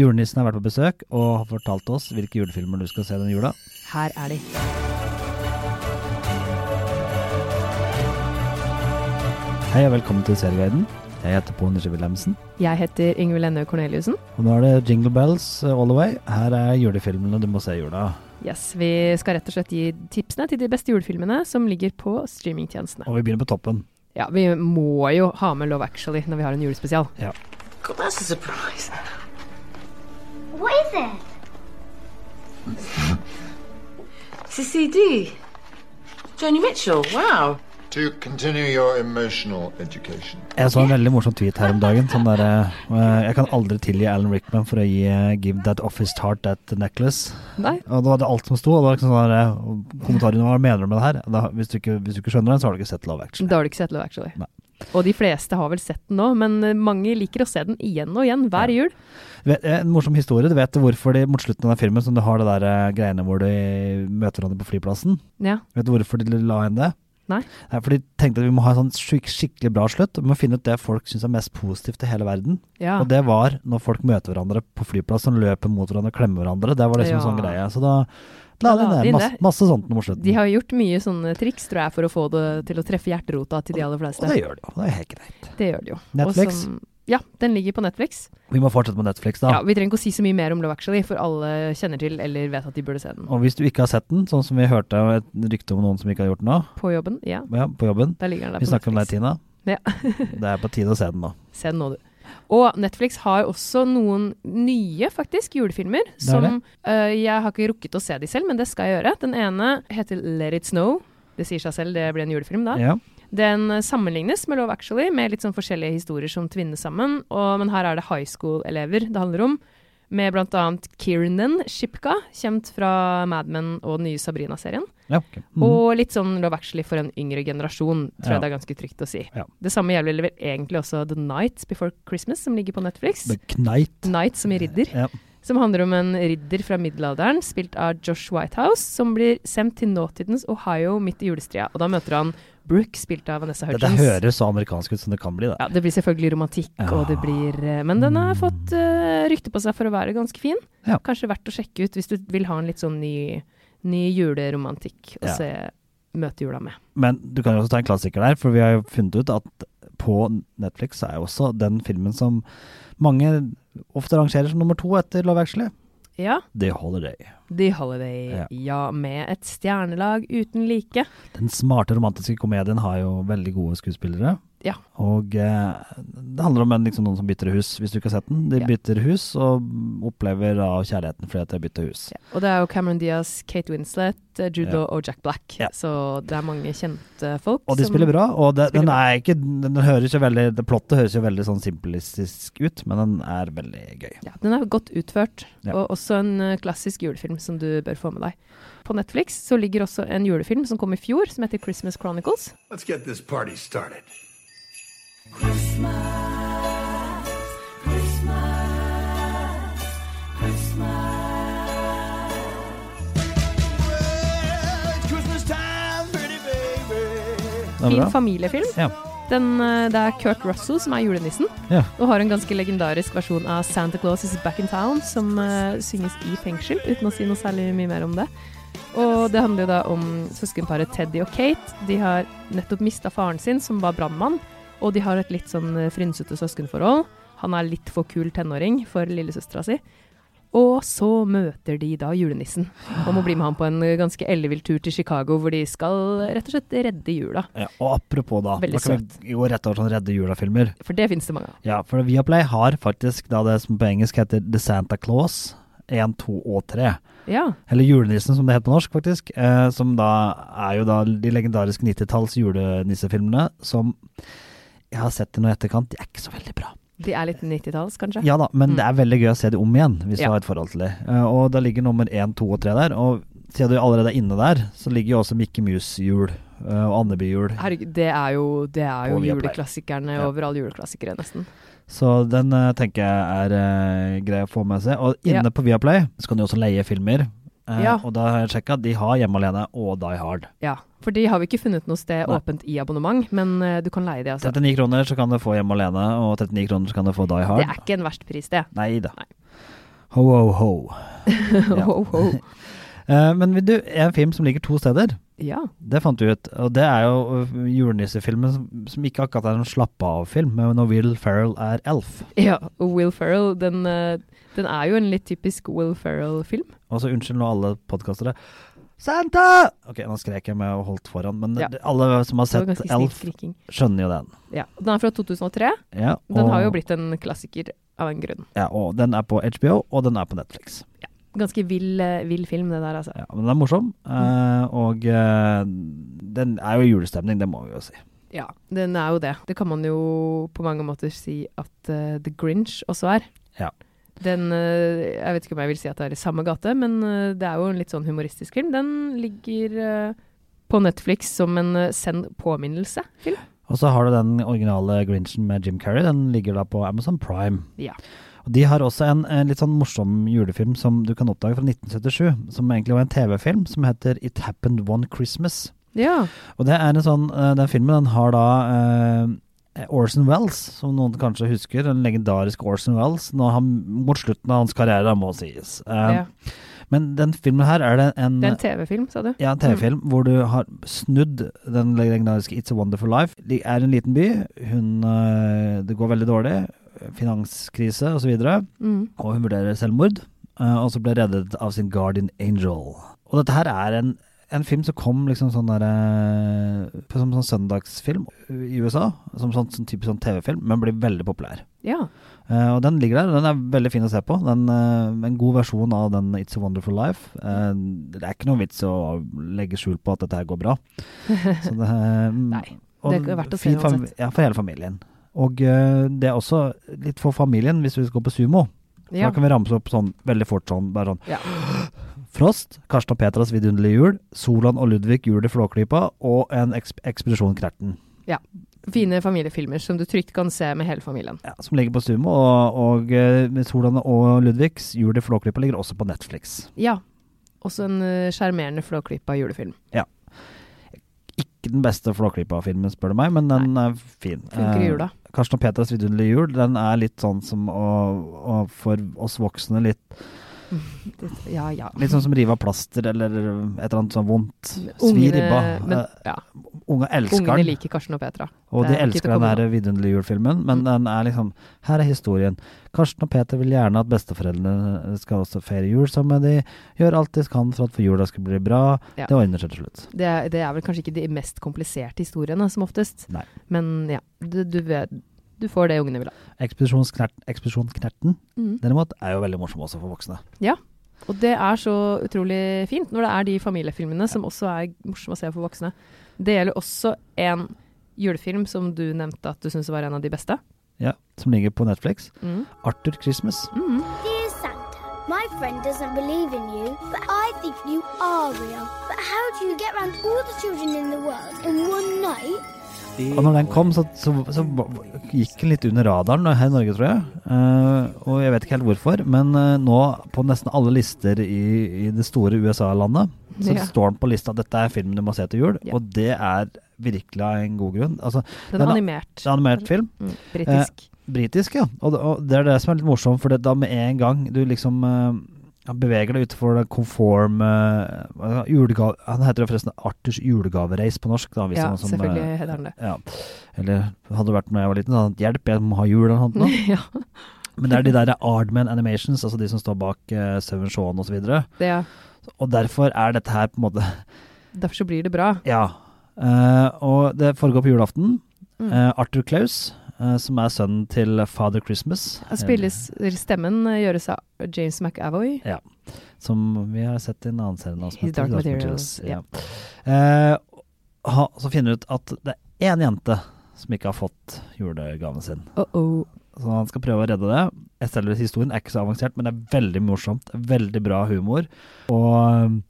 Julenissen har vært på besøk og har fortalt oss hvilke julefilmer du skal se den jula. Her er de. Hei og velkommen til Serieguiden. Jeg heter Pål Nisje Wilhelmsen. Jeg heter Ingvild Enne Corneliussen. Og nå er det Jingle Bells eh, all the way. Her er julefilmene du må se i jula. Yes, Vi skal rett og slett gi tipsene til de beste julefilmene som ligger på streamingtjenestene. Og vi begynner på toppen. Ja, Vi må jo ha med Love Actually når vi har en julespesial. God, that's a surprise. What is it? It's a CD. Joni Mitchell, wow. To continue your emotional education. Jeg så en veldig morsom tweet her om dagen. Sånn der, eh, jeg kan aldri tilgi Alan Rickman for å gi eh, 'Give that office tart that necklace'. Nei. Og det var det alt som sto. Og det var liksom sånn der, eh, og kommentaren var 'Hva mener du med det her?' Da, hvis, du ikke, hvis du ikke skjønner det, så har du ikke sett Love Action. Da har du ikke sett Love Actually. Nei. Og de fleste har vel sett den nå, men eh, mange liker å se den igjen og igjen hver jul. Vet- eh, En morsom historie. Du vet hvorfor de mot slutten av den filmen som du har det der eh, greiene hvor de møter hverandre på flyplassen? Ja, Vet du hvorfor de la inn det? Nei. Nei, For de tenkte at vi må ha en sånn skik skikkelig bra slutt. og Vi må finne ut det folk syns er mest positivt i hele verden. ja. Og det var når folk møter hverandre på flyplassen, løper mot hverandre og klemmer hverandre. Det var liksom Ja. en sånn greie. Så da la de la de ned inn masse, det. masse sånt mot slutten. De har gjort mye sånne triks, tror jeg, for å få det til å treffe hjerterota til de aller Og det fleste. gjør de jo. Det er helt greit. Det gjør de jo. Netflix? Og som- ja, den ligger på Netflix. Vi må fortsette med Netflix, da. Ja, Vi trenger ikke å si så mye mer om Love Actually, for alle kjenner til eller vet at de burde se den. Og hvis du ikke har sett den, sånn som vi hørte et rykte om noen som ikke har gjort den nå, På jobben, ja. ja, på jobben Der ligger den der Vi på snakker om deg, Netflix. Tina. Ja. det er på tide å se den nå. Se den nå, du. Og Netflix har også noen nye, faktisk, julefilmer. er Som øh, jeg har ikke rukket å se de selv, men det skal jeg gjøre. Den ene heter Let It Snow. Det sier seg selv, det blir en julefilm da. Ja. Den øh, sammenlignes med Love Actually, med litt sånn forskjellige historier som tvinnes sammen. Og, men her er det high school-elever det handler om. Med bl.a. Kiernan Shipka, kjent fra Mad Men og den nye Sabrina-serien. Ja, ok. Mhm. Og litt sånn Love Actually for en yngre generasjon, Ja. tror jeg det er ganske trygt å si. Ja. Det samme gjelder vel egentlig også The Night Before Christmas, som ligger på Netflix. The Knight. Night som i ridder, Ja. som handler om en ridder fra middelalderen, spilt av Josh Whitehouse, som blir sendt til nåtidens Ohio midt i julestria. Og da møter han Brooke, spilt av Vanessa Dette Hudgens. høres så amerikansk ut som det kan bli, det. Ja, det blir selvfølgelig romantikk, og det blir eh, Men den har fått eh, rykte på seg for å være ganske fin. Mm. Ja. Kanskje verdt å sjekke ut hvis du vil ha en litt sånn ny, ny juleromantikk å Ja. se møte jula med. Men du kan jo også ta en klassiker der, for vi har jo funnet ut at på Netflix så er jo også den filmen som mange ofte rangerer som nummer to etter Love Actually, Ja. The Holiday. The Holiday, ja. Ja. med et stjernelag uten like. Den smarte romantiske komedien har jo veldig gode skuespillere. Ja. Og eh, det handler om en, liksom, noen som bytter hus, hvis du ikke har sett den. De Ja. bytter hus og opplever av kjærligheten fordi at de bytter hus. Og det er jo Cameron Diaz, Kate Winslet, eh, Jude Ja. Law og Jack Black. Ja. Så det er mange kjente folk. Og de som- spiller bra, og det, den spiller bra. er ikke, den høres jo veldig, det plottet høres jo veldig sånn simplistisk ut, men den er veldig gøy. Ja, den er godt utført, Ja. og også en eh, klassisk julefilm som du bør få med deg. På Netflix så ligger også en julefilm som kom i fjor, som heter Christmas Chronicles. Let's get this party started. Den er Fin bra. familiefilm. Ja. Den, eh, det er Kurt Russell som er julenissen, Ja. og har en ganske legendarisk versjon av Santa Claus is back in town, som eh, synges i fengsel, uten å si noe særlig mye mer om det. Og det handler jo da om søskenparet Teddy og Kate. De har nettopp mista faren sin, som var brannmann, og de har et litt sånn eh, frynsete søskenforhold. Han er litt for kul tenåring for lillesøstera si. Og så møter de da julenissen, og må bli med ham på en eh, ganske ellevill tur til Chicago, hvor de skal eh, rett og slett redde jula. Ja, og apropos da, Veldig da kan vi gå rett over sånn redde jula-filmer. For det finnes det mange av. Ja, for Viaplay har faktisk da det som på engelsk heter The Santa Claus 1, 2 og 3. Ja. Eller Julenissen, som det heter på norsk, faktisk. Eh, som da er jo da de legendariske 90-talls julenissefilmene som jeg har sett det nå i etterkant. De er ikke så veldig bra. De er litt 90-talls, kanskje? Ja da, men Mm. det er veldig gøy å se de om igjen, hvis Ja. du har et forhold til de. Eh, og da ligger nummer én, to og tre der. Og siden du allerede er inne der, så ligger jo også Mikke Mus-jul eh, og Andeby-jul. Herregud, det er jo, det er jo På Viaplay. juleklassikerne Ja. over alle juleklassikere, nesten. Så den eh, tenker jeg er eh, grei å få med seg. Og inne Ja. på Viaplay så kan du også leie filmer. Eh, Ja. Og da har jeg sjekka, de har Hjemme alene og Die Hard. Ja. For de har vi ikke funnet noe sted Nei. åpent i abonnement, men eh, du kan leie det, altså. 39 kroner så kan du få Hjemme alene, og 39 kroner så kan du få Die Det Hard. er ikke en verst pris, det. Nei da. Nei. Ho, ho, ho. Ja. Ho, ho. Eh, men vil du, en film som ligger to steder, Ja. det fant du ut. Og det er jo øh, julenissefilmen som, som ikke akkurat er en slappe-av-film, men når Will Ferrell er elf. ja. Og Will Ferrell, den, eh, den er jo en litt typisk Will Ferrell-film. Og så altså unnskyld nå alle podkastere. Santa! Ok, nå skrek jeg med og holdt foran, men Ja. det- alle som har Det var sett ganske snill Elf, skriking. skjønner jo den. Ja. Den er fra 2003. Ja, Den og- har jo blitt en klassiker av en grunn. Ja, og den er på HBO, og den er på Netflix. Ganske vill, eh, vill film, det der, altså. Ja, men den er morsom, eh, og eh, den er jo julestemning, det må vi jo si. Ja, den er jo det. Det kan man jo på mange måter si at eh, The Grinch også er. Ja. Den eh, Jeg vet ikke om jeg vil si at det er i samme gate, men eh, det er jo en litt sånn humoristisk film. Den ligger eh, på Netflix som en eh, send påminnelse-film. Og så har du den originale Grinchen med Jim Carrey, den ligger da på Amazon Prime. Ja. Og de har også en, eh, litt sånn morsom julefilm som du kan oppdage fra 1977, som egentlig var en TV-film som heter It Happened One Christmas. ja. Og det er en sånn, eh, den filmen den har da eh, Orson Welles, som noen kanskje husker, den legendariske Orson Welles, når han, mot slutten av hans karriere, da, må sies. Eh, ja. Men den filmen her er det en, Det er en TV-film, sa du? ja, en TV-film hvor du har snudd den legendariske It's a Wonderful Life. Det er en liten by, hun, eh, det går veldig dårlig, finanskrise osv., og, så videre, Mm. og hun vurderer selvmord, eh, og så blir reddet av sin guardian angel. Og dette her er en en film som kom liksom sånn der, eh, som sånn søndagsfilm i USA, som sånn, sånn type sånn TV-film, men blir veldig populær. Ja. Eh, og den ligger der, og den er veldig fin å se på. Den, eh, en god versjon av den It's a Wonderful Life. Eh, det er ikke noe vits å legge skjul på at dette her går bra. Så det, eh, mm, Nei, det er verdt å se fin fam- uansett. Ja, for hele familien. Og eh, det er også litt for familien hvis vi skal gå på sumo. Ja. Da kan vi ramse opp sånn veldig fort sånn, bare sånn ja. Frost, Karsten og Petras vidunderlige jul, Solan og Ludvig jul i Flåklypa og en eks ekspedisjon Knerten. Fine familiefilmer som du trygt kan se med hele familien. Ja, som ligger på Sumo, og, og eh, Solan og Ludvigs jul i Flåklypa ligger også på Netflix. Ja. Også en eh, sjarmerende flåklypa julefilm. Ikke den beste Flåklypa-filmen, spør du meg, men den er fin. Funker i Eh, jula. Karsten og Petras vidunderlige jul, den er litt sånn som å, å for oss voksne litt, Ja, ja. litt sånn som rive av plaster eller et eller annet sånn vondt. Svi i ribba. Ungene, men, Eh, ja, Unge elsker ungene den. liker Karsten og Petra. Og Det de er ikke Mm. til elsker den å komme der vidunderlige julfilmen, men den er liksom Her er historien. Karsten og Peter vil gjerne at besteforeldrene skal også feire jul sammen med de. Gjør alt de kan for at for jula skal bli bra. Ja. Det ordner seg til slutt. Det, er- det er vel kanskje ikke de mest kompliserte historiene, som oftest. Nei. Men ja, du, du, vet, du får det ungene vil ha. Ekspedisjonsknerten, Ekspedisjonknerten, Mm. derimot, er jo veldig morsom også for voksne. Og det er så utrolig fint når det er de familiefilmene som også er morsomme å se for voksne. Det gjelder også en julefilm som du nevnte at du syntes var en av de beste. Ja, Som ligger på Netflix. Mm. Arthur Christmas. Dear Santa, my friend doesn't believe in you, but I think you are real. But how do you get round all the children in the world in one night? Og når den kom, så, så, så gikk den litt under radaren her i Norge, tror jeg. Eh, og jeg vet ikke helt hvorfor, men eh, nå på nesten alle lister i, i det store USA-landet, så Ja. står den på lista dette er filmen du må se til jul, Ja. og det er virkelig av en god grunn. Altså, Den Den er er- animert. det er animert film, Mm, britisk. Eh, britisk, ja, og, det- og det er det som er litt morsomt, for det, da med en gang du liksom eh, ja, beveger deg utenfor den konform eh, hva- julegave, Han heter jo forresten Arthurs julegavereis på norsk, da, hvis det ja, er noen som eh, selvfølgelig heter den det. ja. Eller hadde det vært når jeg var liten, så hadde jeg hjelp, jeg må ha jul eller noe sånt. nå. ja, Men det er de der Ardman Animations, altså de som står bak uh, Seven Shaun osv. Og, så videre. det er, og derfor er dette her på en måte derfor så blir det bra. Ja. Eh, og det foregår på julaften. Mm. Eh, Arthur Claus, eh, som er sønnen til Father Christmas, Her Spilles, stemmen eh, gjøres av James McAvoy. eh, som vi har sett i en annen serie nå. som His heter Dark Materials, Ja. Eh, ha, så finner vi ut at det er én jente som ikke har fått julegaven sin. Oh -oh. Så han skal prøve å redde det. Jeg Selve historien er ikke så avansert, men det er veldig morsomt. Veldig bra humor. Og um,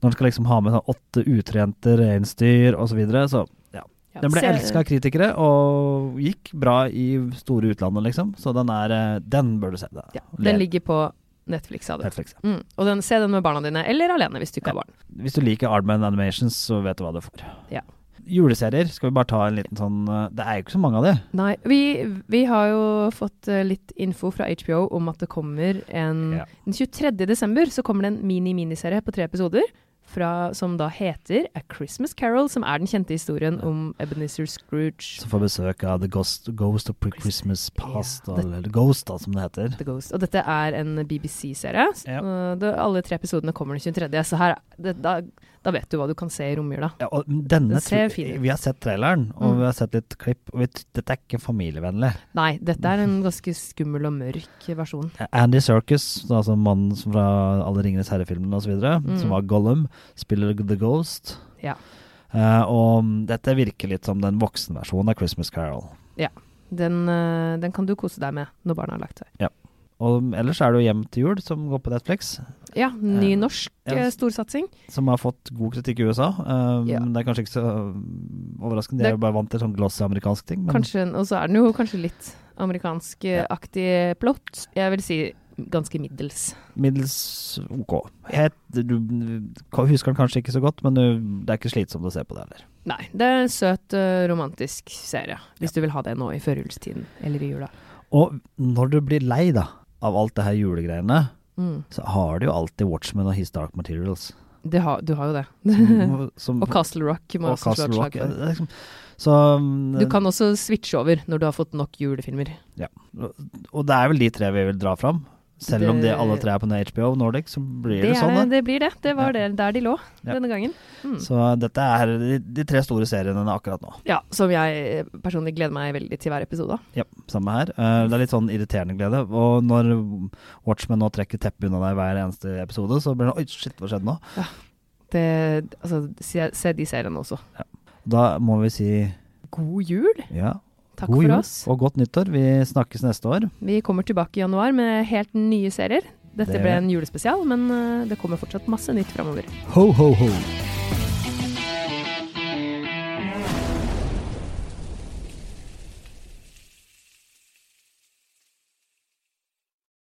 når han skal liksom ha med sånn åtte utrente reinsdyr osv., så, videre, så Ja, Den ble se- elska av kritikere og gikk bra i store utlandet, liksom. Så den er eh, Den bør du se. Da. Ja, Le- den ligger på Netflix, sa du. Netflix. Mm. Og den, se den med barna dine, eller alene hvis du ikke har barn. Hvis du liker Ardman Animations, så vet du hva du får. Ja. Juleserier, skal vi bare ta en liten sånn eh, Det er jo ikke så mange av de. Nei, vi, vi har jo fått eh, litt info fra HBO om at det kommer en Ja. Den 23. desember så kommer det en mini-miniserie på tre episoder fra, som da heter A Christmas Carol, som er den kjente historien om Ebenezer Scrooge. Som får besøk av The Ghost, Ghost of Pre-Christmas Past, Ja, det- eller Ghost, da, som det heter. The Ghost. Og dette er en BBC-serie. Ja. Eh, det- Alle tre episodene kommer den 23., så her, det, da, da vet du hva du kan se i romjula. Ja, og denne Den ser tror- fin ut. Vi har sett traileren, og Mm. vi har sett litt klipp. Og vi, t- dette er ikke familievennlig. Nei, dette er en ganske skummel og mørk versjon. Andy Serkis, da, som mannen som fra alle Ringenes herre-filmene osv., Mm. som var Gollum, spiller The Ghost. Ja. Eh, og dette virker litt som den voksenversjonen av Christmas Carol. Den, eh, den kan du kose deg med når barna har lagt seg. Og ellers er det jo Hjem til jul, som går på Netflix, Ja, ny Eh, norsk ja. eh, storsatsing. som har fått god kritikk i USA. Eh, Ja. men Det er kanskje ikke så eh, overraskende, de er Det- jo bare vant til sånn glossy amerikansk ting. Men Kanskje, og så er den jo kanskje litt amerikansk-aktig plott. Jeg vil si ganske middels. middels ok. Het, du k- husker den kanskje ikke så godt, men du, det er ikke slitsomt å se på det heller. Nei, det er en søt, eh, romantisk serie. Hvis du vil ha det nå i førjulstiden eller i jula. Og når du blir lei da, av alt det her julegreiene, Mm. så har du jo alltid Watchmen og His Dark Materials. Det har- du har jo det. Som, som, Og Castle Rock må Mm. og også slå et Castle slag Rock. ja, for. det er Liksom, så mm, Du kan også switche over når du har fått nok julefilmer. Og det er vel de tre vi vil dra fram. Selv om de Det- alle tre er på HBO og Nordic, så blir det, er, sånn. Da. det blir det. Det var det, der de lå Ja. denne gangen. Mm. Så dette er de, de tre store seriene akkurat nå. Ja, som jeg personlig gleder meg veldig til hver episode. Ja, samme her. Eh, det er litt sånn irriterende glede. Og når Watchmen nå trekker teppet unna deg hver eneste episode, så blir det sånn Oi, shit, hva skjedde nå? Det, altså, se, se de seriene også. Da må vi si God jul. ja. Takk god for jul oss. og godt nyttår. Vi snakkes neste år. Vi kommer tilbake i januar med helt nye serier. Dette Det gjør ble vi. en julespesial, men eh, det kommer fortsatt masse nytt framover. Ho, ho, ho.